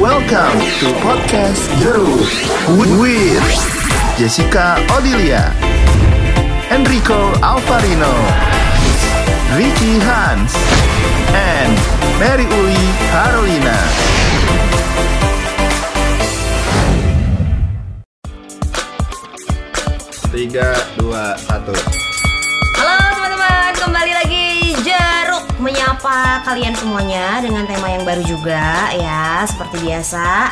Welcome to podcast Jeruk with Jessica Odilia, Enrico Alvarino, Ricky Hans, and Mary Uli Carolina. Tiga, dua, satu. Halo teman-teman, kembali lagi Jeruk menyapa kalian semuanya dengan tema yang baru juga ya. Seperti biasa,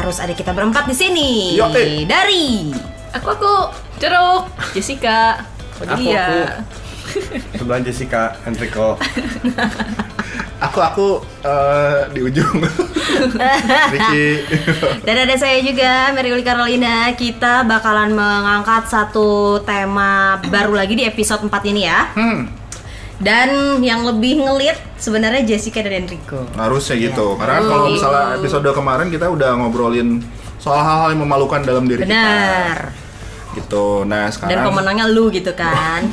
harus ada kita berempat di sini. Yo, eh. Dari Aku aku jeruk Jessica Iya. Odelia Sebelum Jessica Enrico Aku aku eh, di ujung. Ricky. dan ada saya juga Mary Uli Carolina. Kita bakalan mengangkat satu tema baru lagi di episode 4 ini ya. Hmm. Dan yang lebih ngelit sebenarnya Jessica dan Enrico. harusnya Iya. gitu karena kan kalau misalnya episode kemarin kita udah ngobrolin soal hal-hal yang memalukan dalam diri Benar. kita gitu nah Dan sekarang pemenangnya lu gitu kan.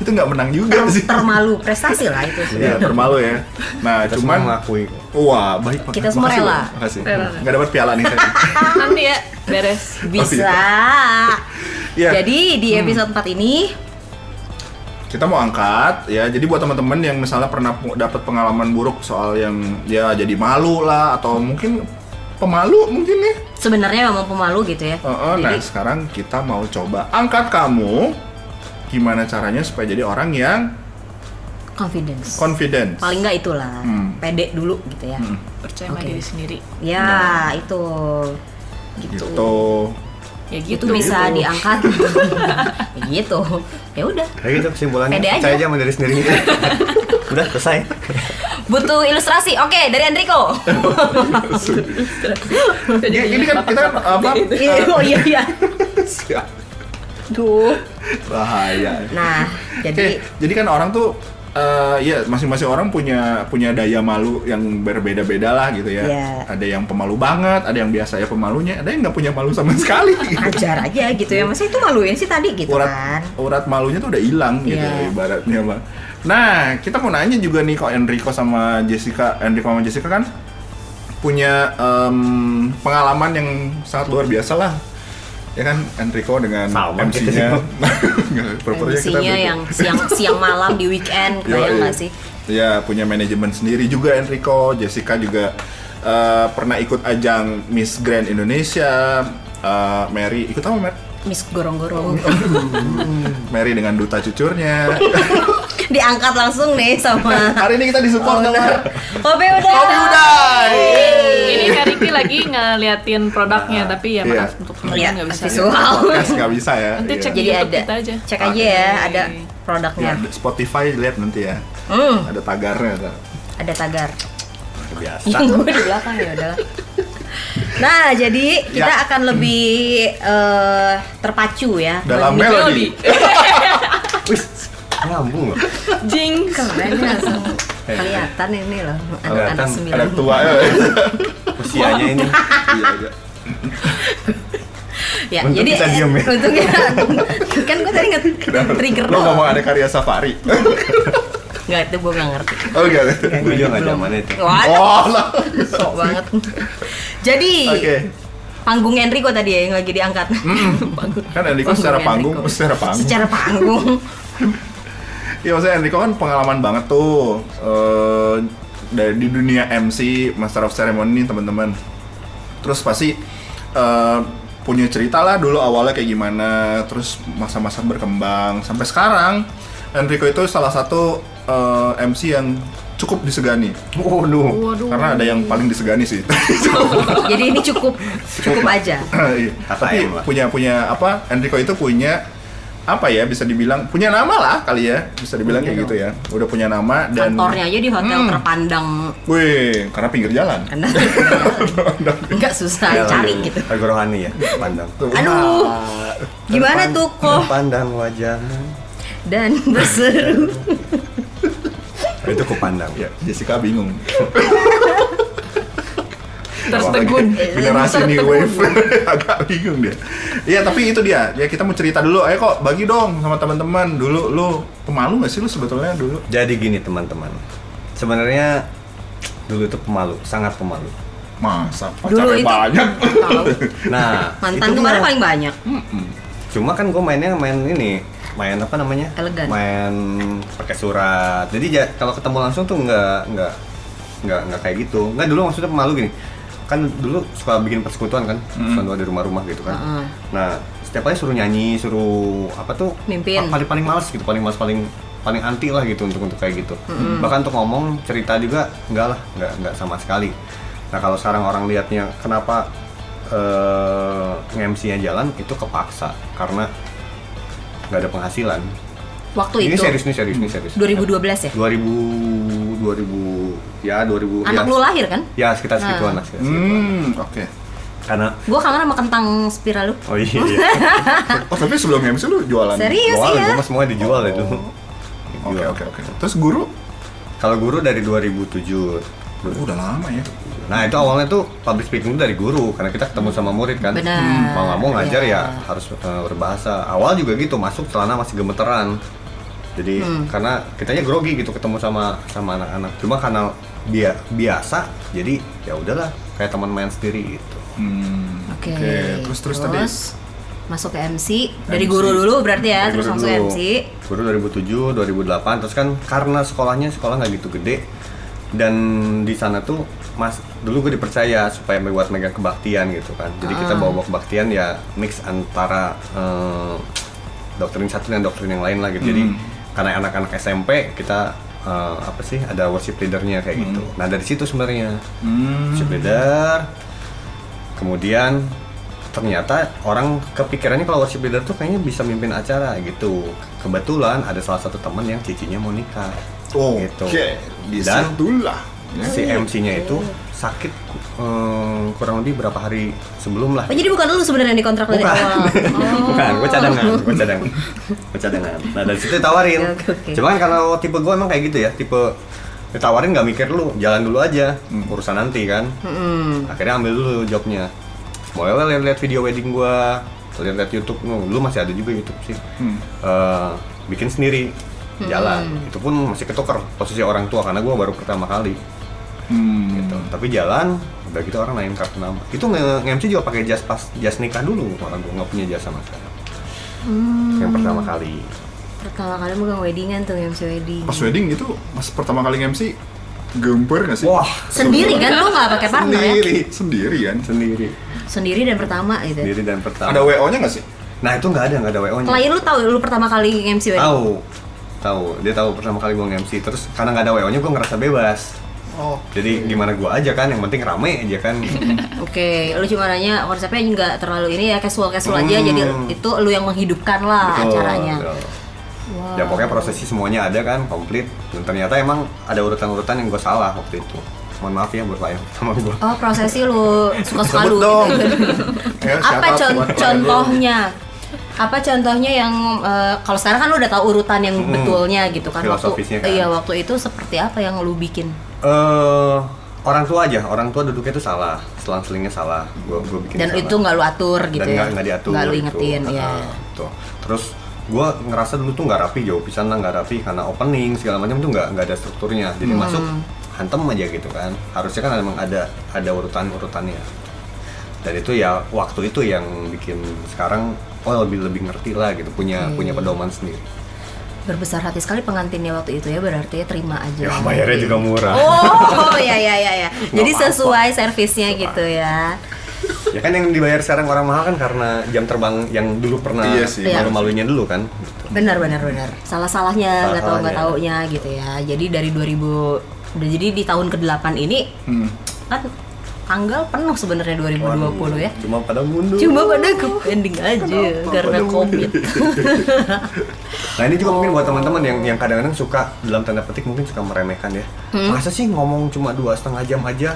itu nggak menang juga Iya sih Termalu prestasi lah itu. ya termalu ya nah Kita cuman semua mengakui wah baik banget. Kita semua Makasih, rela. Bang. makasih Rela. nggak dapat piala nih saya Nanti ya beres Bisa. Oh, Iya. Jadi di episode 4 ini kita mau angkat ya jadi buat teman-teman yang misalnya pernah pu- dapat pengalaman buruk soal yang ya jadi malu lah atau mungkin pemalu mungkin ya sebenarnya memang pemalu gitu ya. Oh, oh, nah Jadi sekarang kita mau coba angkat kamu gimana caranya supaya jadi orang yang confidence. confident. Paling nggak itulah. Hmm. Iya. Pede dulu gitu ya. Percaya sama Oke. diri sendiri Ya, itu. Gitu. gitu. Ya Itu gitu bisa diangkat. Ya gitu. Ya udah. Kayak gitu kesimpulannya Pede aja. Percaya aja sama diri sendiri Udah selesai Butuh ilustrasi. Oke, dari Enrico. Ini, ini kan kita kan apa? oh iya iya. Duh. Bahaya. Nah, Oke, jadi jadi kan orang tuh eh, ya masing-masing orang punya punya daya malu yang berbeda-beda lah gitu ya. Iya. Ada yang pemalu banget, ada yang biasa ya pemalunya, ada yang nggak punya malu sama sekali. ajar aja gitu ya. Masa itu maluin sih tadi gitu urat kan. urat malunya tuh udah hilang gitu Iya. ibaratnya mah. Nah kita mau nanya juga nih kok Enrico sama Jessica Enrico sama Jessica kan punya em, pengalaman yang sangat luar biasa lah ya kan Enrico dengan Sama kita gitu sih, MC-nya Bang. Purpurnya kita Isinya beda. yang siang siang malam di weekend Yoi. kayak nggak sih? Ya punya manajemen sendiri juga Enrico, Jessica juga eh, pernah ikut ajang Miss Grand Indonesia, Eh, Mary ikut apa Mary? Miss Gorong-Gorong Hmm. Mary dengan duta cucurnya. Diangkat langsung nih sama Hari ini kita Oh, disupport sama Kopi udah Kopi Udai. Ini Kak Riki lagi ngeliatin produknya Tapi ya Iya. maaf untuk Iya, kalian nggak bisa visual Podcast nggak bisa ya. Nanti Iya. cek Jadi YouTube ada kita aja. Cek aja ya Oke. Ada Ya, produknya Spotify lihat nanti ya. Hmm, Ada tagarnya tuh. Ada tagar Luar Biasa. Iya. Yang gue di belakang ya udahlah Nah jadi kita Ya. akan lebih eh, terpacu ya Dalam melodi. Melody Wih Nyambung loh Jinx Iya. Keren ya, langsung kelihatan ini loh anak-anak Kelihatan Ada sembilan tua ya. Iya, Usianya ini Iya, iya. ya Untung jadi kita diem ya. untung ya kan gue tadi nggak trigger Lo doang. ngomong ada karya safari. nggak itu gue nggak ngerti Iya, Oh gitu. Gue juga nggak zaman itu waduh Oh lah. sok banget jadi Iya. Oke. panggung Enrico tadi ya yang lagi diangkat Kan Enrico secara panggung, secara panggung. secara panggung Iya maksudnya Enrico kan pengalaman banget tuh eh, dari di dunia MC, Master of Ceremony teman-teman. Terus pasti eh, punya cerita lah dulu awalnya kayak gimana, terus masa-masa berkembang sampai sekarang Enrico itu salah satu eh, MC yang cukup disegani. Waduh Waduh Karena ada yang paling disegani sih. jadi ini cukup cukup aja Iya. Kata Tapi Em lah. punya punya apa? Enrico itu punya apa ya bisa dibilang punya nama lah kali ya bisa dibilang kayak gitu ya udah punya nama dan Mm. kantornya aja di hotel terpandang Wih, karena pinggir jalan. karena nggak Iya, susah cari gitu Lagu Ya, iya. rohani ya Pandang Tuh. Ah, aduh gimana Terpan- tuh kok Terpandang wajahmu dan berseru Itu kupandang Ya, Jessica bingung. Tertegun Generasi new wave agak bingung dia. Iya, tapi itu dia. Ya kita mau cerita dulu. Ayo kok bagi dong sama teman-teman. Dulu lu pemalu gak sih lu sebetulnya dulu? Jadi gini teman-teman Sebenarnya dulu itu pemalu, sangat pemalu Masa Dulu pacarnya Oh, itu- banyak. Tahu. Nah, Mantan itu kemarin mah- paling banyak. Cuma kan gue mainnya main ini, main apa namanya? Elegan. Main pakai surat. Jadi ja- kalau ketemu langsung tuh nggak nggak nggak nggak kayak gitu. Nggak dulu maksudnya malu gini. Kan dulu suka bikin persekutuan kan, persekutuan di rumah-rumah gitu kan. Mm-mm. Nah, setiap kali suruh nyanyi, suruh apa tuh? Mimpin. pa- Paling paling males gitu, paling males paling paling anti lah gitu untuk untuk kayak gitu. Bahkan untuk ngomong cerita juga enggak lah, enggak enggak sama sekali. Nah, kalau sekarang orang lihatnya kenapa eh MC-nya jalan itu kepaksa karena nggak ada penghasilan. Waktu Ini itu serius nih, serius nih, serius. 2012 ya. 2000 2000 ya 2000 Anak ya, lu lahir kan? ya sekitar segituan lah sekitar segituan. Hmm, oke. karena Gue kangen sama kentang spiral lu. oh iya, iya. Oh, tapi sebelum MC lu jualan. Serius Oh. Jual, ya? gua mah semuanya dijual itu Oke, Iya. oke, oke. Terus guru? Kalau guru dari 2007. Oh, udah lama ya. Nah itu awalnya tuh public speaking itu dari guru karena kita ketemu sama murid kan. Benar. Mau nggak mau ngajar Iya. ya harus eh, berbahasa. Awal juga gitu masuk celana masih gemeteran. Jadi Hmm. karena kitanya grogi gitu ketemu sama sama anak-anak. Cuma karena bia- biasa jadi ya udahlah kayak teman main sendiri gitu. Hmm. Oke. Terus terus tadi. masuk ke MC dari MC. guru dulu berarti ya, Dari terus guru langsung dulu. MC. Guru 2007, 2008 terus kan karena sekolahnya sekolah nggak gitu gede dan di sana tuh mas dulu gue dipercaya supaya buat megang kebaktian gitu kan jadi kita bawa bawa kebaktian ya mix antara eh, doktrin satu dan doktrin yang lain lah gitu jadi karena anak-anak SMP kita eh, apa sih ada worship leadernya kayak gitu nah dari situ sebenarnya Hmm. worship leader kemudian ternyata orang kepikirannya kalau worship leader tuh kayaknya bisa mimpin acara gitu kebetulan ada salah satu teman yang cicinya mau nikah Oke. gitu Di dan situlah. si MC-nya itu sakit eh, kurang lebih berapa hari sebelum lah Oh, jadi bukan lu sebenarnya yang dikontrak dari bukan awal. Oh. bukan gue cadangan gue cadangan gue cadangan nah dari situ ditawarin Ya, Oke, oke. cuman kalau tipe gue emang kayak gitu ya tipe ditawarin nggak mikir lu jalan dulu aja urusan nanti kan Hmm. akhirnya ambil dulu jobnya boleh lah lihat video wedding gua lihat-lihat YouTube lu lu masih ada juga YouTube sih Eh, bikin sendiri Hmm. jalan itu pun masih ketuker posisi orang tua karena gua baru pertama kali Hmm. gitu. tapi jalan udah gitu orang nanya kartu nama itu nge- nge-MC juga pakai jas pas jas nikah dulu malah gue nggak punya jas sama sekali yang pertama kali Pertama kali megang weddingan tuh MC wedding. Pas wedding itu pas pertama kali MC gemper nggak sih? wah Sendiri kan lu nggak pakai partner ya? sendiri, sendiri kan. sendiri Sendiri dan pertama gitu. sendiri dan pertama Ada WO-nya nggak sih? nah itu nggak ada nggak ada wo nya Klien lu tahu lu pertama kali MC wedding. tahu tahu dia tahu pertama kali gue nge-MC terus karena nggak ada wo nya gue ngerasa bebas Oh. jadi gimana gue aja kan yang penting rame aja kan Oke, lu cuma nanya konsepnya nggak terlalu ini ya casual casual aja, Hmm. jadi itu lu yang menghidupkan lah Betul, Ah, acaranya. betul. Gitu. ya pokoknya prosesi semuanya ada kan komplit dan ternyata emang ada urutan-urutan yang gue salah waktu itu mohon maaf ya buat klien sama gue Oh prosesi lu suka suka lu. Sebut dong. gitu. Ya, Apa shout out con- buat klien lu. contohnya? Apa contohnya yang eh, kalau sekarang kan lu udah tahu urutan yang Hmm. betulnya gitu kan Filosofisnya waktu kan. iya waktu itu seperti apa yang lu bikin? eh orang tua aja, orang tua duduknya itu salah, selang-selingnya salah. Gua gua bikin Dan salah. itu nggak lu atur gitu Dan ya? nggak nggak diatur. Nggak lu gitu. ingetin ya. Ah, betul. Terus gua ngerasa dulu tuh nggak rapi jauh pisan lah nggak rapi karena opening segala macam tuh nggak nggak ada strukturnya. Jadi Hmm. masuk hantem aja gitu kan. Harusnya kan memang ada ada urutan-urutannya. Dan itu ya waktu itu yang bikin sekarang oh lebih lebih ngerti lah gitu punya punya Hmm. pedoman sendiri. Berbesar hati sekali pengantinnya waktu itu ya berarti ya terima aja. Ya bayarnya juga murah. Oh ya ya ya ya. Jadi apa-apa. sesuai servisnya gitu ya. ya kan yang dibayar sekarang orang mahal kan karena jam terbang yang dulu pernah Iya sih. malu-malunya dulu kan Benar benar benar. Salah salahnya nggak tahu nggak taunya Salah-salahnya. gitu ya. Jadi dari 2000 udah jadi di tahun ke-8 ini Hmm. kan tanggal penuh sebenarnya 2020 ya. cuma pada mundur Cuma pada ke pending aja karena pada covid. Eh, nah ini juga mungkin buat Oh. teman-teman yang yang kadang-kadang suka dalam tanda petik mungkin suka meremehkan ya Hmm. masa sih ngomong cuma dua setengah jam aja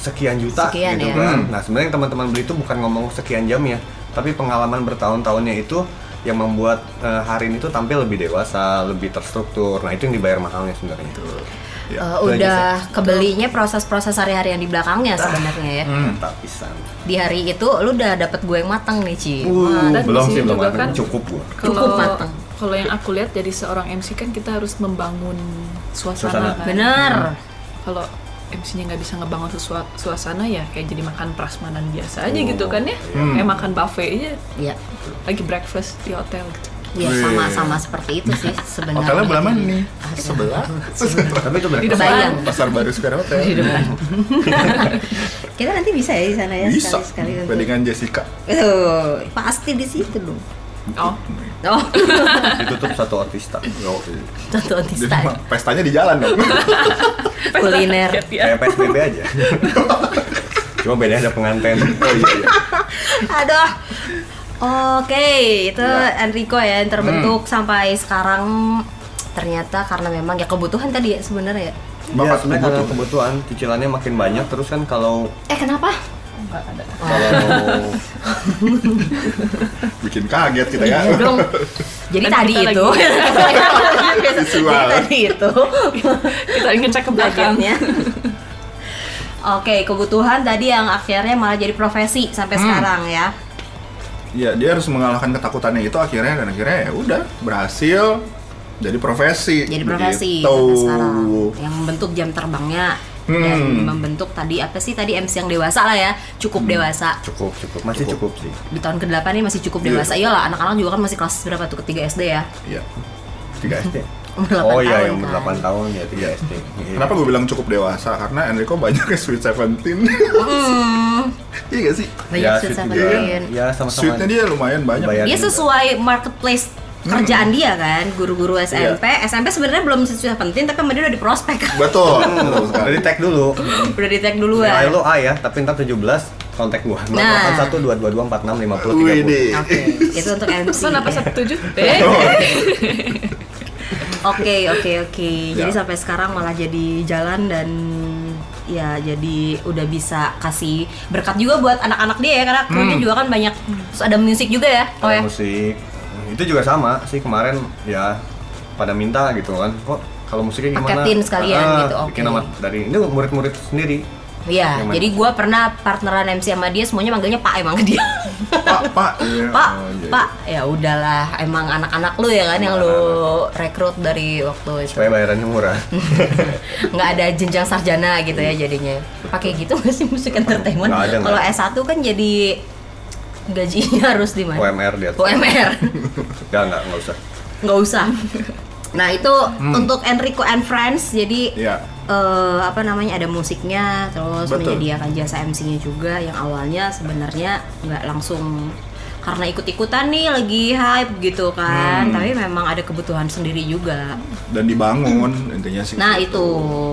sekian juta Sekian gitu ya. kan nah sebenarnya yang teman-teman beli itu bukan ngomong sekian jam ya tapi pengalaman bertahun-tahunnya itu yang membuat eh, hari ini tuh tampil lebih dewasa lebih terstruktur nah itu yang dibayar mahalnya sebenarnya Ya, Eh, itu aja udah kebelinya proses-proses sehari-hari yang di belakangnya Ah. sebenarnya ya. Hmm. mantap pisan Di hari itu lu udah dapet gue yang matang nih, Ci. Uh, dan belum di sini sih belum juga matang. kan- cukup gua Cukup matang. Kalau yang aku lihat jadi seorang MC kan kita harus membangun suasana. Suasana. Hmm. kan. Bener. Kalau MC-nya nggak bisa ngebangun sesua- suasana ya kayak jadi makan prasmanan biasa Oh. aja gitu kan ya Hmm. kayak makan buffet aja Iya. lagi breakfast di hotel gitu Iya Wih. sama sama seperti itu sih sebenarnya. Hotelnya belah mana nih? nah. Sebelah. Tapi itu di berarti depan Kebayang. Pasar Baru Square Hotel. Hmm. Kita nanti bisa ya di sana ya Bisa. sekali sekali. Weddingan Jessica. Tuh, pasti di situ dong. oh Oh, ditutup satu artista. Iya. contoh Jadi anti-style. mah pestanya di jalan dong. Iya, Kuliner. ya, Kayak PSBB aja. Cuma bedanya ada penganten. Oh iya iya. Aduh. Oke, itu Ya. Enrico ya yang Hmm. terbentuk sampai sekarang ternyata karena memang ya kebutuhan tadi ya sebenarnya ya. Bapak Bapak Iya, sebenarnya kebutuhan. karena kebutuhan cicilannya makin banyak terus kan kalau Eh, kenapa? kalau Bikin kaget kita ya. Belum. Jadi Kan tadi kita itu. Visual. Jadi tadi itu. kita ngecek ke belakang Kagetnya. Oke, kebutuhan tadi yang akhirnya malah jadi profesi sampai Hmm. sekarang ya. Iya, dia harus mengalahkan ketakutannya itu akhirnya dan akhirnya ya udah berhasil jadi profesi. Jadi profesi sampai Begitu. sekarang yang membentuk jam terbangnya dan Hmm. membentuk tadi apa sih tadi MC yang dewasa lah ya, cukup dewasa. cukup cukup masih cukup, sih. di tahun ke-8 ini masih cukup Iya. dewasa. Iyalah, anak-anak juga kan masih kelas berapa tuh? Ketiga SD ya. Iya. Tiga SD. Umur 8 Oh iya tahun. yang umur kan. 8 tahun ya 3 SD. Iya. Kenapa gue bilang cukup dewasa? Karena Enrico banyak yang sweet seventeen. Hmm, iya gak sih? banyak Ya, sweet sweet juga. seventeen. Ya sama-sama. Sweetnya dia lumayan banyak. Bayar. Dia sesuai marketplace kerjaan Hmm. dia kan, guru-guru Iya. SMP. SMP sebenarnya belum sweet penting tapi sama dia udah di prospek. Betul. Betul sekali. Dari tag dulu. udah di tag Nilai duluan. lu A ya, tapi ntar 17 kontak gua. Nah. 081 222 Widih. 46 50 30. Oke, itu untuk MC. pesan apa satu tujuh Eh. Iya. Oh, Oke oke oke. Jadi Ya. sampai sekarang malah jadi jalan dan ya jadi udah bisa kasih berkat juga buat anak-anak dia ya karena krunya Hmm. juga kan banyak terus ada musik juga ya. Oh Ada ya. musik. Itu juga sama sih kemarin ya pada minta gitu kan. Kok kalau musiknya gimana? Ah, Paketin sekalian gitu, oke. Bikin amat dari ini murid-murid sendiri. Iya, Yang mana? jadi gua pernah partneran MC sama dia semuanya manggilnya Pak emang ke dia. Pak, Pak. Iya, Pak, oh, iya. Pak. Ya udahlah, emang anak-anak lu ya kan yang lu rekrut dari waktu itu. Supaya bayarannya murah. nggak ada jenjang sarjana gitu ya jadinya pakai gitu nggak sih musik entertainment Iya. Nggak ada, nggak kalau ada. S1 kan jadi gajinya harus di mana UMR dia. UMR Enggak, enggak, enggak usah. nggak usah nah itu Hmm. untuk Enrico and Friends jadi Iya. eh, apa namanya ada musiknya terus Betul. menyediakan jasa MC-nya juga yang awalnya sebenarnya nggak langsung karena ikut-ikutan nih lagi hype gitu kan Hmm. tapi memang ada kebutuhan sendiri juga Gitu. Dan dibangun intinya sih. Nah itu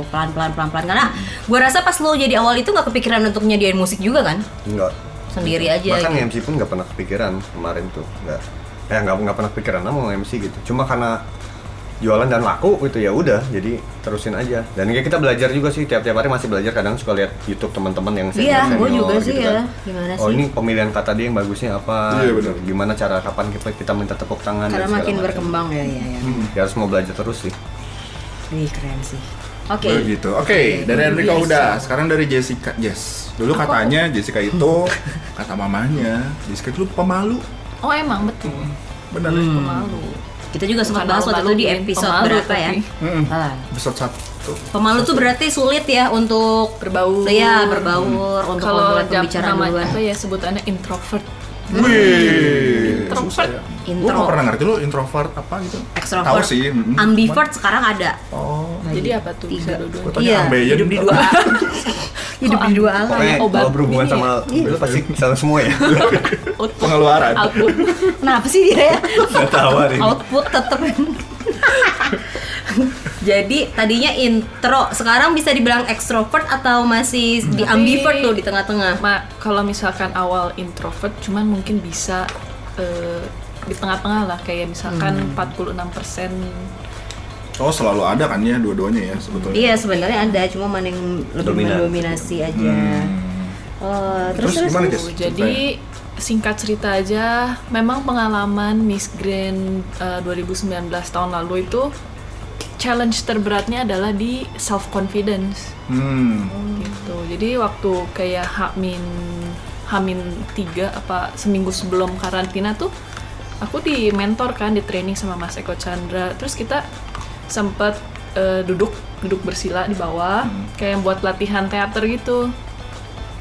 pelan-pelan pelan-pelan karena gua rasa pas lo jadi awal itu nggak kepikiran untuk nyediain musik juga kan Enggak. sendiri aja. Bahkan gitu. MC pun nggak pernah kepikiran kemarin tuh. Enggak. Eh nggak nggak pernah kepikiran lah mau MC gitu. Cuma karena jualan dan laku gitu ya udah jadi terusin aja dan kayak kita belajar juga sih tiap-tiap hari masih belajar kadang suka lihat YouTube teman-teman yang Iya, senior-senior gua juga sih ya. kan. Gimana oh sih? ini pemilihan kata dia yang bagusnya apa Gitu. Iya, benar. gimana cara kapan kita, kita minta tepuk tangan dan Karena segala makin macam. berkembang ya ya ya. ya harus mau belajar terus sih Wih keren sih. Oke. Begitu. Oke, dari Enrico Biasa. udah. Sekarang dari Jessica. Yes. Dulu katanya Jessica itu kata mamanya, Jessica dulu pemalu. oh emang betul Benar ya? Hmm. malu Kita juga sempat Bukan bahas waktu malu-malu itu di sih, episode pemalu berapa ya? tapi. Mm-mm. Ah. Hmm. Episode satu. Pemalu tuh berarti sulit ya untuk Berbaur. Iya berbaur untuk kalau memulai jam pembicaraan namanya duluan. apa ya sebutannya introvert Hmm. Wih, Introvert. susah ya. Gua Intro. nggak pernah ngerti lu introvert apa gitu. Tahu Extrovert, sih. mm-mm. ambivert sekarang ada. Oh. jadi apa tuh bisa Gua dua-duanya tanya Iya, ambe aja hidup dulu. di dua alam. hidup di dua alam. pokoknya obat kalau berhubungan ini sama iya. itu pasti salah semua ya output Pengeluaran. output Kenapa sih dia ya? nggak tahu hari ini. Output tetep. Jadi tadinya intro, sekarang bisa dibilang extrovert atau masih di ambivert tuh di tengah-tengah. Ma, kalau misalkan awal introvert cuman mungkin bisa eh, di tengah-tengah lah kayak Hmm. misalkan 46% Oh, selalu ada kan ya dua-duanya ya sebetulnya. Iya sebenarnya ada, cuma mana yang lebih Dominan. mendominasi aja. Oh, Hmm. Terus terus, terus, gimana, terus. Jess? gitu. Jadi singkat cerita aja, memang pengalaman Miss Grand eh, 2019 tahun lalu itu challenge terberatnya adalah di self confidence Hmm. gitu. Jadi waktu kayak Hamin Hamin 3 apa seminggu sebelum karantina tuh aku di mentor kan di training sama Mas Eko Chandra. Terus kita sempat duduk duduk bersila di bawah Hmm. kayak yang buat latihan teater gitu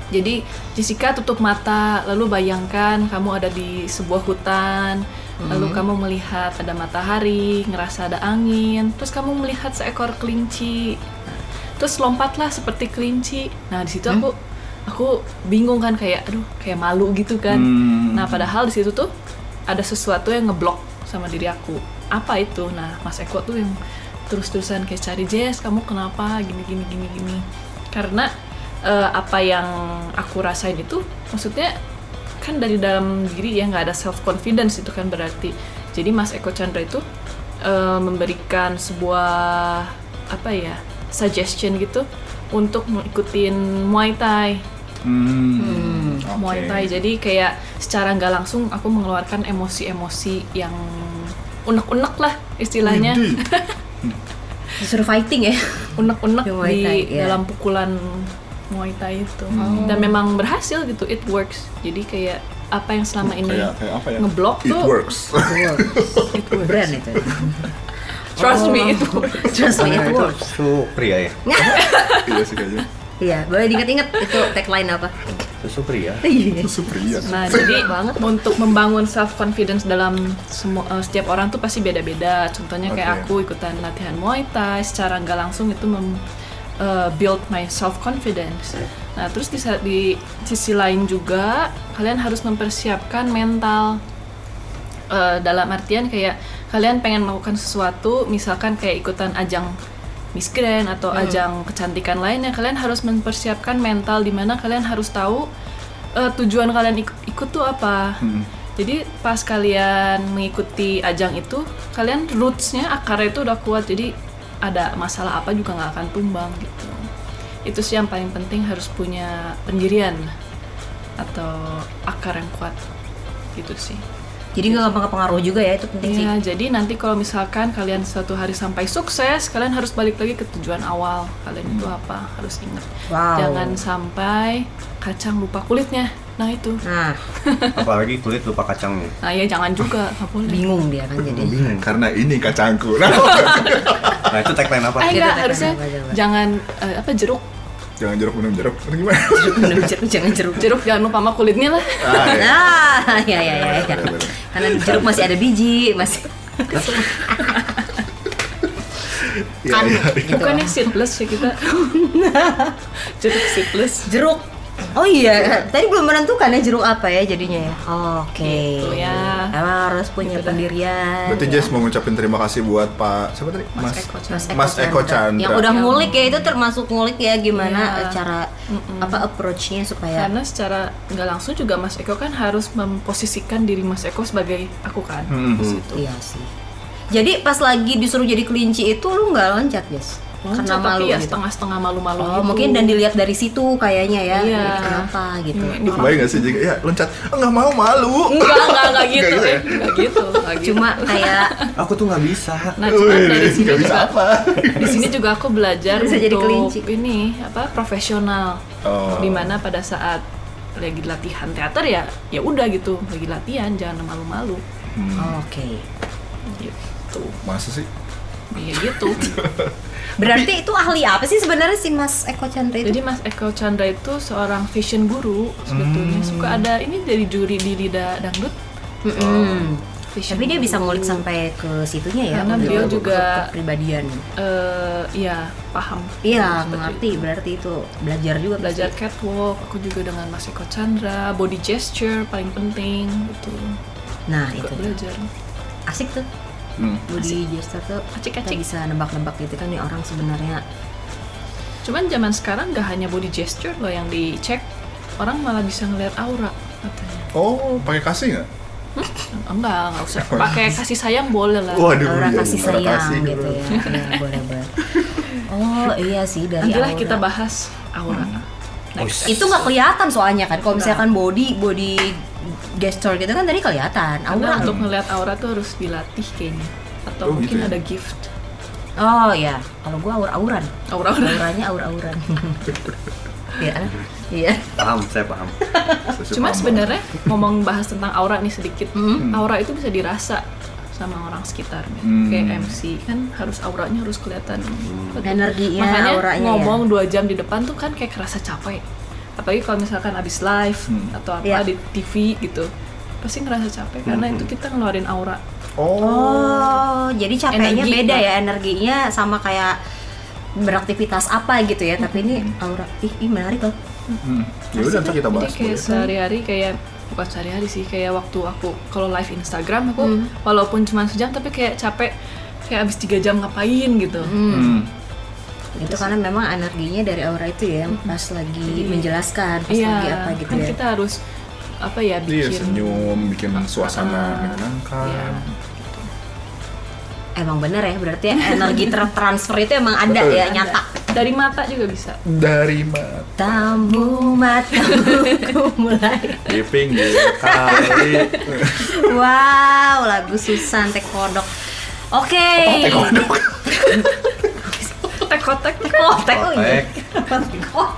jadi Jessica tutup mata lalu bayangkan kamu ada di sebuah hutan lalu kamu melihat ada matahari ngerasa ada angin terus kamu melihat seekor kelinci terus lompatlah seperti kelinci nah di situ aku aku bingung kan kayak aduh kayak malu gitu kan Hmm. nah padahal di situ tuh ada sesuatu yang ngeblok sama diri aku apa itu nah mas Eko tuh yang terus-terusan kayak cari Jess kamu kenapa gini gini gini gini karena eh, apa yang aku rasain itu maksudnya kan dari dalam diri ya nggak ada self confidence itu kan berarti jadi mas Eko Chandra itu eh, memberikan sebuah apa ya suggestion gitu untuk ngikutin Muay Thai Hmm. oke. Muay Thai. Jadi kayak secara nggak langsung aku mengeluarkan emosi-emosi yang unek-unek lah istilahnya. Widih. Disuruh fighting ya. Unek-unek Di di, Muay Thai, ya. dalam pukulan Muay Thai itu. Hmm. Dan memang berhasil gitu, it works. Jadi kayak apa yang selama ini Kayak kayak apa ya? ngeblok It tuh works. Brand itu. Oh. trust me itu. Trust Oh, me, Karena it itu works. susu pria ya Iya sih kayaknya. Iya, boleh diinget-inget itu tagline apa? susu pria Iya. Itu Supriya. Nah, jadi untuk membangun self confidence dalam semua eh, setiap orang tuh pasti beda-beda. Contohnya Oke. kayak aku ikutan latihan Muay Thai secara nggak langsung itu mem eh, build my self confidence. Nah, terus di, sa- di sisi lain juga kalian harus mempersiapkan mental Eh, dalam artian kayak kalian pengen melakukan sesuatu misalkan kayak ikutan ajang Miss Grand atau ajang kecantikan lainnya kalian harus mempersiapkan mental di mana kalian harus tahu eh, tujuan kalian ik- ikut tuh apa jadi pas kalian mengikuti ajang itu kalian rootsnya akarnya itu udah kuat jadi ada masalah apa juga nggak akan tumbang gitu itu sih yang paling penting harus punya pendirian atau akar yang kuat gitu sih Jadi nggak gampang kepengaruh juga ya, itu penting sih. Iya, jadi nanti kalau misalkan kalian suatu hari sampai sukses, kalian harus balik lagi ke tujuan awal. Kalian itu apa? Harus ingat. Wow. Jangan sampai kacang lupa kulitnya. Nah, itu. Nah, apalagi kulit lupa kacangnya Nah, ya jangan juga, nggak boleh. Ah, bingung dia kan jadi. bingung Karena ini kacangku. Nah, nah itu tagline apa Kita Eh, enggak, tekan harusnya apa coba? jangan eh, apa jeruk. jangan jeruk minum jeruk. Atau gimana? Minum jeruk, jangan jeruk. Jeruk jangan lupa sama kulitnya lah. Ah, ya. Ah, ya ya ya ya. Karena di jeruk masih ada biji, masih Iya, kan iya. gitu. Bukannya seedless ya kita. jeruk seedless. Jeruk. Oh iya, tadi belum menentukan ya jeruk apa ya jadinya ya. Oke. Gitu ya. Emang harus punya pendirian. Berarti ya. Jess mau ngucapin terima kasih buat Pak siapa tadi? Mas Eko Chandra. Mas Eko Chandra. Yang udah ngulik ya itu termasuk ngulik ya gimana Iya. eh, cara apa approach-nya supaya Karena secara nggak langsung juga Mas Eko kan harus memposisikan diri Mas Eko sebagai aku kan. Hmm. iya sih. Jadi pas lagi disuruh jadi kelinci itu lu nggak loncat, Guys. Loncat, Karena malu tapi ya gitu. setengah-setengah malu-malu Oh, gitu. mungkin dan dilihat dari situ kayaknya ya. Iya. Kenapa gitu. Hmm. Lu kebayang gak sih jika ya loncat enggak mau malu. Enggak, enggak, enggak Enggak gitu, gitu ya? eh. Enggak gitu, enggak gitu. Cuma kayak aku tuh nggak bisa nah, cuma Wih, dari sini nggak bisa juga apa. di sini juga aku belajar Bisa jadi untuk kelinci. ini apa profesional. Oh. Dimana pada saat lagi latihan teater ya ya udah gitu lagi latihan jangan malu-malu Hmm. oh, oke. gitu Masa sih? ya gitu Berarti itu ahli apa sih sebenarnya si Mas Eko Chandra itu? jadi Mas Eko Chandra itu seorang fashion guru sebetulnya Hmm. suka ada ini dari juri di Lida Dangdut Mm-mm. fashion Hmm. Tapi dia guru. bisa ngulik sampai ke situnya ya. oh. Karena untuk- beliau untuk juga- kepribadian. eh ya paham Iya, Seperti mengerti berarti itu belajar juga pasti. belajar catwalk aku juga dengan Mas Eko Chandra body gesture paling penting gitu Nah, juga itu. belajar Asik tuh. Hmm. Budi gesture tuh Acik-acik. kita bisa nebak-nebak gitu kan nih orang sebenarnya. cuman zaman sekarang gak hanya body gesture loh yang dicek orang malah bisa ngelihat aura katanya Oh, pakai kasih nggak? enggak nggak usah pakai kasih sayang boleh lah Waduh, Orang iya, Eh, kasih aura sayang kasih. gitu ya. Iya, boleh boleh. Oh, iya sih dari nantilah aura. kita bahas aura next itu nggak kelihatan soalnya kan kalau misalkan body body gesture gitu kan tadi kelihatan karena aura untuk ngelihat aura tuh harus dilatih kayaknya atau Oh, mungkin gitu ya? ada gift oh ya kalau gua aura auran aura aura auranya aura auran iya iya paham saya paham Saya paham. Cuma Hmm. sebenarnya ngomong bahas tentang aura nih sedikit. Aura itu bisa dirasa sama orang sekitar gitu. Hmm. kayak MC kan harus auranya harus kelihatan Energinya, makanya auranya ya. ngomong dua jam di depan tuh kan kayak kerasa capek apalagi kalau misalkan abis live Hmm. atau apa Iya. di TV gitu pasti ngerasa capek karena Hmm. itu kita ngeluarin aura Oh, jadi capeknya Energi, beda Mbak. ya energinya sama kayak beraktivitas apa gitu ya. Tapi ini aura ih, ih menarik loh. Hmm. Ya udah nanti kita bahas Jadi kayak boleh. sehari-hari kayak bukan sehari-hari sih kayak waktu aku kalau live Instagram aku Hmm. walaupun cuma sejam tapi kayak capek kayak abis tiga jam ngapain gitu Hmm. Itu karena memang energinya dari aura itu ya yang pas lagi menjelaskan, pas lagi apa gitu Iya. kan ya. kita harus apa ya Iya bikin senyum bikin Ah. suasana Iya. menyenangkan. Emang bener ya, berarti ya energi tertransfer itu emang ada Betul. ya nyata. dari mata juga bisa Dari mata Tamu mataku mulai. di pinggir kali. Wow, lagu Susan Tekodok. Oke. Oh, Tekodok. tek kotek Tekodok. oh iya. Kotek. Tekodok.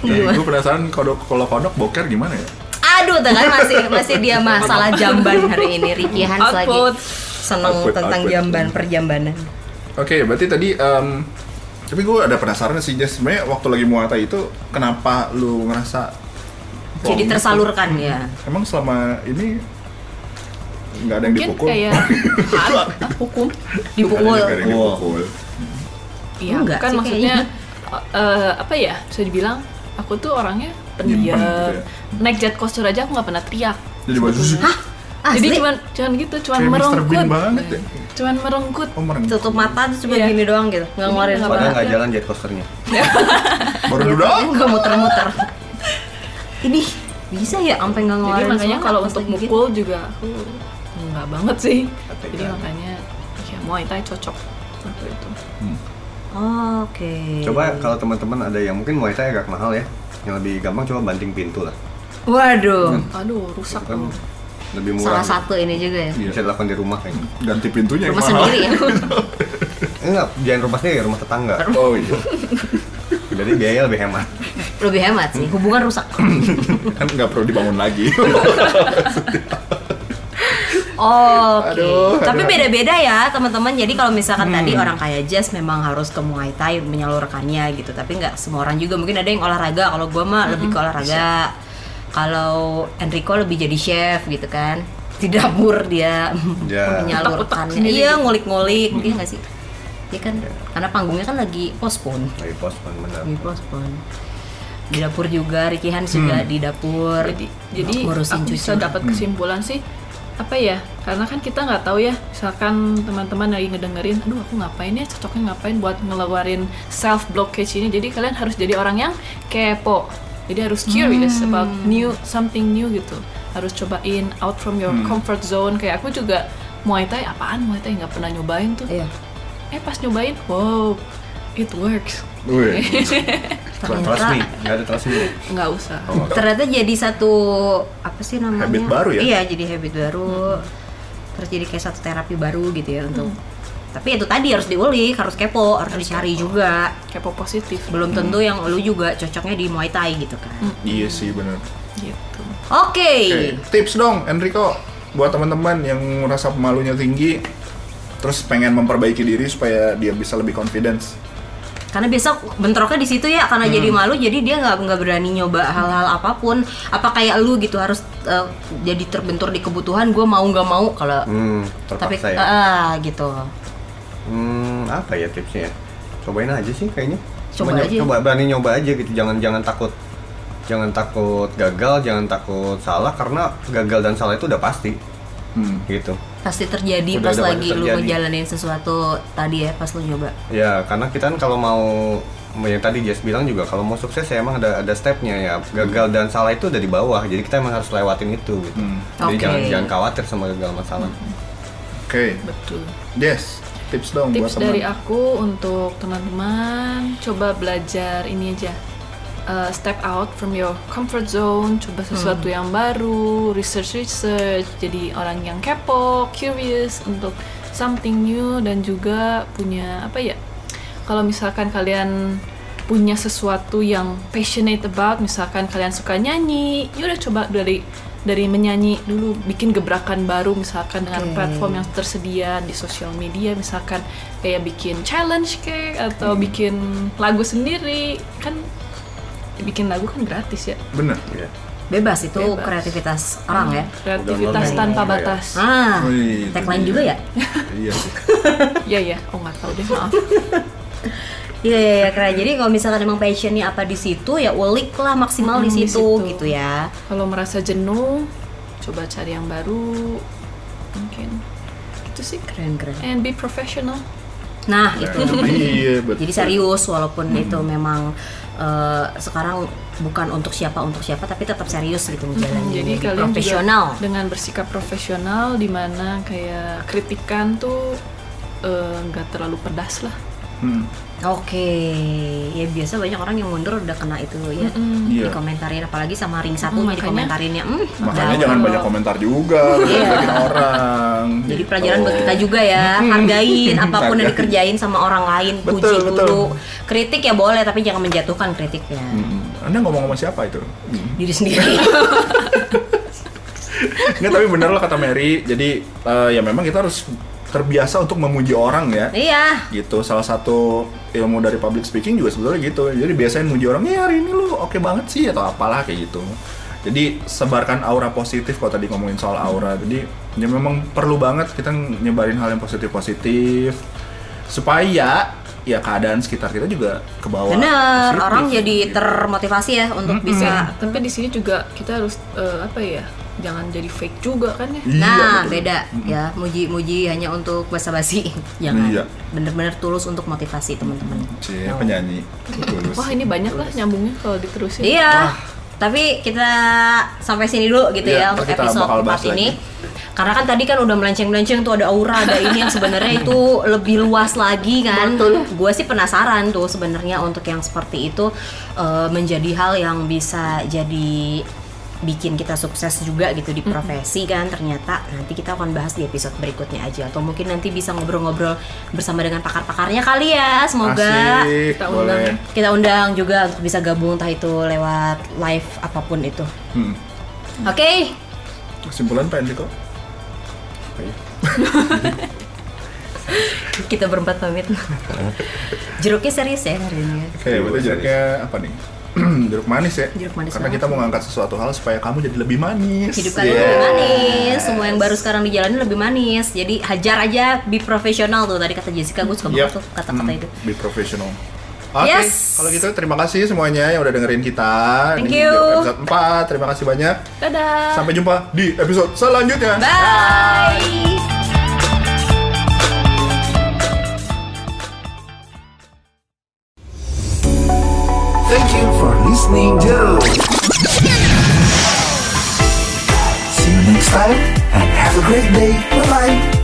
Nah, gue penasaran kodok kalau kodok boker gimana ya? Aduh, tuh kan masih masih dia masalah jamban hari ini. Ricky Hans Output. lagi seneng Output, tentang output. jamban perjambanan. Oke, berarti tadi em, tapi gue ada penasaran sih Jess, sebenarnya waktu lagi muata itu kenapa lu ngerasa Jadi plong? tersalurkan ya. Emang selama ini nggak ada yang mungkin dipukul? kayak ah, ah, hukum Nggak ada Dipukul. yang dipukul. iya Enggak kan sih maksudnya eh, apa ya bisa dibilang aku tuh orangnya pendiam Nyimpen gitu ya. naik jet coaster aja aku nggak pernah teriak Jadi baju sebetulnya. Hah? Asli? Jadi cuman cuman gitu, cuman Kayak Mr. Bean merengkut. banget ya. Cuman merengkut. Oh, mereng. tutup mata terus cuma Iya. gini doang gitu. Nggak ngeluarin Nggak suara. Padahal nggak Iya. jalan jet coasternya. Baru duduk. Nggak muter-muter. Ini bisa ya sampai nggak Jadi ngeluarin makanya suara kalau pas untuk lagi gitu. mukul juga aku nggak banget sih. Tapi Jadi kan. makanya ya Muay Thai cocok waktu itu. Oh, Oke. Coba kalau teman-teman ada yang mungkin Muay Thai agak mahal ya, yang lebih gampang coba banting pintu lah. Waduh. Hmm. Aduh, rusak Itu kan dong. lebih murah. Salah satu ini juga ya. Iya. Bisa dilakukan di rumah kayaknya. Ganti pintunya yang Rumah Iya, mahal. sendiri ya. Eh, Enggak, jangan rumah sendiri, rumah tetangga. Oh iya. Jadi biaya lebih hemat. Lebih hemat sih. Hubungan rusak. kan nggak perlu dibangun lagi. Oke. Aduh, Tapi aduh. Hmm. beda-beda ya teman-teman. Jadi kalau misalkan tadi orang kayak Jazz memang harus ke Muay Thai menyalurkannya gitu. Tapi nggak semua orang juga. Mungkin ada yang olahraga. Kalau gua mah lebih ke Hmm. olahraga. Kalau Enrico lebih jadi chef gitu kan. Di dapur dia Ya. menyalurkannya. Utak-utak Iya ngulik-ngulik. Hmm. Iya nggak sih? Iya kan. Ya. Karena panggungnya kan lagi postpone. Lagi pos benar. Lagi postpone. Di dapur juga, Ricky Hans Hmm. juga di dapur. Jadi jadi ngurusin Hmm. aku bisa cuci. dapat kesimpulan sih apa ya? Karena kan kita nggak tahu ya. Misalkan teman-teman lagi ngedengerin, aduh aku ngapain ya? Cocoknya ngapain buat ngelawarin self blockage ini. Jadi kalian harus jadi orang yang kepo. Jadi harus curious Hmm. about new something new gitu. Harus cobain out from your comfort zone. Kayak aku juga Muay Thai apaan Muay Thai nggak pernah nyobain tuh. Iya. Eh pas nyobain, wow, it works. Wih. Trust me, enggak ada trust me. Nggak usah. Oh, ternyata jadi satu apa sih namanya Habit baru ya? iya jadi habit baru terus jadi kayak satu terapi baru gitu ya untuk tapi itu tadi harus diulik harus kepo harus dicari juga Kepo positif. belum tentu yang lu juga cocoknya di muay thai gitu kan Iya sih benar. Gitu. oke Oke, Iya. tips dong Enrico buat teman-teman yang merasa pemalunya tinggi terus pengen memperbaiki diri supaya dia bisa lebih confidence. karena biasa bentroknya di situ ya karena jadi malu jadi dia nggak nggak berani nyoba hal-hal apapun apa kayak lu gitu harus eh, jadi terbentur di kebutuhan gue mau nggak mau kalau Hmm, tapi terpaksa ya. ah, gitu Hmm, apa ya tipsnya? ya? Cobain aja sih kayaknya. Coba nyob- aja. coba berani nyoba aja gitu. Jangan jangan takut. Jangan takut gagal, jangan takut salah karena gagal dan salah itu udah pasti. Hmm. Gitu. pasti terjadi pas Udah ada lagi banyak lu terjadi. ngejalanin sesuatu tadi ya pas lu nyoba Ya, karena kita kan kalau mau yang tadi Jess bilang juga kalau mau sukses ya emang ada ada stepnya ya gagal dan salah itu udah di bawah jadi kita emang harus lewatin itu gitu Hmm. jadi Oke. jangan jangan khawatir sama gagal masalah Oke, Betul. Jess, tips dong buat Tips teman. dari aku untuk teman-teman coba belajar ini aja. Uh, step out from your comfort zone, coba sesuatu Hmm. yang baru, research research, jadi orang yang kepo, curious untuk something new dan juga punya apa ya? Kalau misalkan kalian punya sesuatu yang passionate about, misalkan kalian suka nyanyi, ya udah coba dari dari menyanyi dulu bikin gebrakan baru misalkan dengan Oke. platform yang tersedia di sosial media misalkan kayak bikin challenge kayak atau bikin lagu sendiri kan bikin lagu kan gratis ya bener Iya. Bebas itu Bebas. kreativitas orang ya. kreativitas Download tanpa ya. batas Ah, Wih, itu tagline dia. juga ya? iya sih ya ya oh nggak tahu deh maaf Iya, iya, iya, keren. Jadi kalau misalkan emang passionnya apa di situ, ya ulik lah maksimal di Mm, di situ, situ. gitu ya. kalau merasa jenuh coba cari yang baru mungkin itu sih Keren, keren. and be professional Nah, itu. iya betul Jadi serius walaupun itu memang eh, sekarang bukan untuk siapa untuk siapa tapi tetap serius gitu menjalani. Hmm, jadi Jadi kalian profesional. juga dengan bersikap profesional dimana kayak kritikan tuh eh, nggak terlalu pedas lah Hmm. Oke, ya biasa banyak orang yang mundur udah kena itu ya. Hmm, Iya. Dikomentarin apalagi sama ring satunya Mm, makanya- dikomentarinnya. Hmm, makanya jauh. jangan banyak komentar juga ngeledekin orang Iya. Jadi Gitu. pelajaran buat kita juga ya, hargain apapun yang dikerjain sama orang lain, Betul, puji betul. Hmm. dulu. Kritik ya boleh tapi jangan menjatuhkan kritiknya. Mm-mm. Anda ngomong sama siapa itu? Mm. Diri sendiri. Nggak, tapi bener lah kata Mary. Jadi eh, ya memang kita harus terbiasa untuk memuji orang ya. iya. Gitu. Salah satu ilmu dari public speaking juga sebetulnya gitu. Jadi biasanya muji orang, "Ya hari ini lu oke banget sih" atau apalah kayak gitu. Jadi sebarkan aura positif kalau tadi ngomongin soal aura. Jadi ya memang perlu banget kita nyebarin hal yang positif-positif supaya ya keadaan sekitar kita juga ke bawah. Bener, positif, orang jadi gitu. termotivasi ya untuk bisa tapi di sini juga kita harus eh, apa ya jangan jadi fake juga kan ya Iya, Nah, betul. beda ya. Muji-muji hanya untuk basa-basi. Jangan. Iya. Bener-bener tulus untuk motivasi teman-teman. Cie, Iya, penyanyi. Tulus. wah ini banyak lah nyambungnya kalau diterusin Iya. Tapi kita sampai sini dulu gitu Iya, ya untuk ntar kita episode bakal bahas 4 ini. lagi. Karena kan tadi kan udah melenceng-melenceng tuh ada aura, ada ini yang sebenarnya itu lebih luas lagi kan. Gue sih penasaran tuh sebenarnya untuk yang seperti itu eh, menjadi hal yang bisa jadi bikin kita sukses juga gitu di profesi kan ternyata nanti kita akan bahas di episode berikutnya aja atau mungkin nanti bisa ngobrol-ngobrol bersama dengan pakar-pakarnya kali ya semoga Asik, Kita undang boleh. ya. kita undang juga untuk bisa gabung entah itu lewat live apapun itu. Hmm. Oke, Kesimpulan Pak Enrico? kita berempat pamit. Jeruknya serius ya hari ini. ya? Oke, berarti Jeruk manis. jeruknya apa nih? jeruk manis ya. Jeruk manis Karena banget. kita mau ngangkat sesuatu hal supaya kamu jadi lebih manis. Iya. Hidup kalian Yes. lebih manis, semua yang baru sekarang dijalani lebih manis. Jadi hajar aja, be profesional tuh tadi kata Jessica, gue suka Yap. banget tuh kata-kata Hmm, itu. Be professional. Oke, Yes. kalau gitu terima kasih semuanya yang udah dengerin kita. Thank Ini you. Episode 4, terima kasih banyak. dadah Sampai jumpa di episode selanjutnya. Bye. Thank you for listening to. See you next time and have a great day. Bye bye.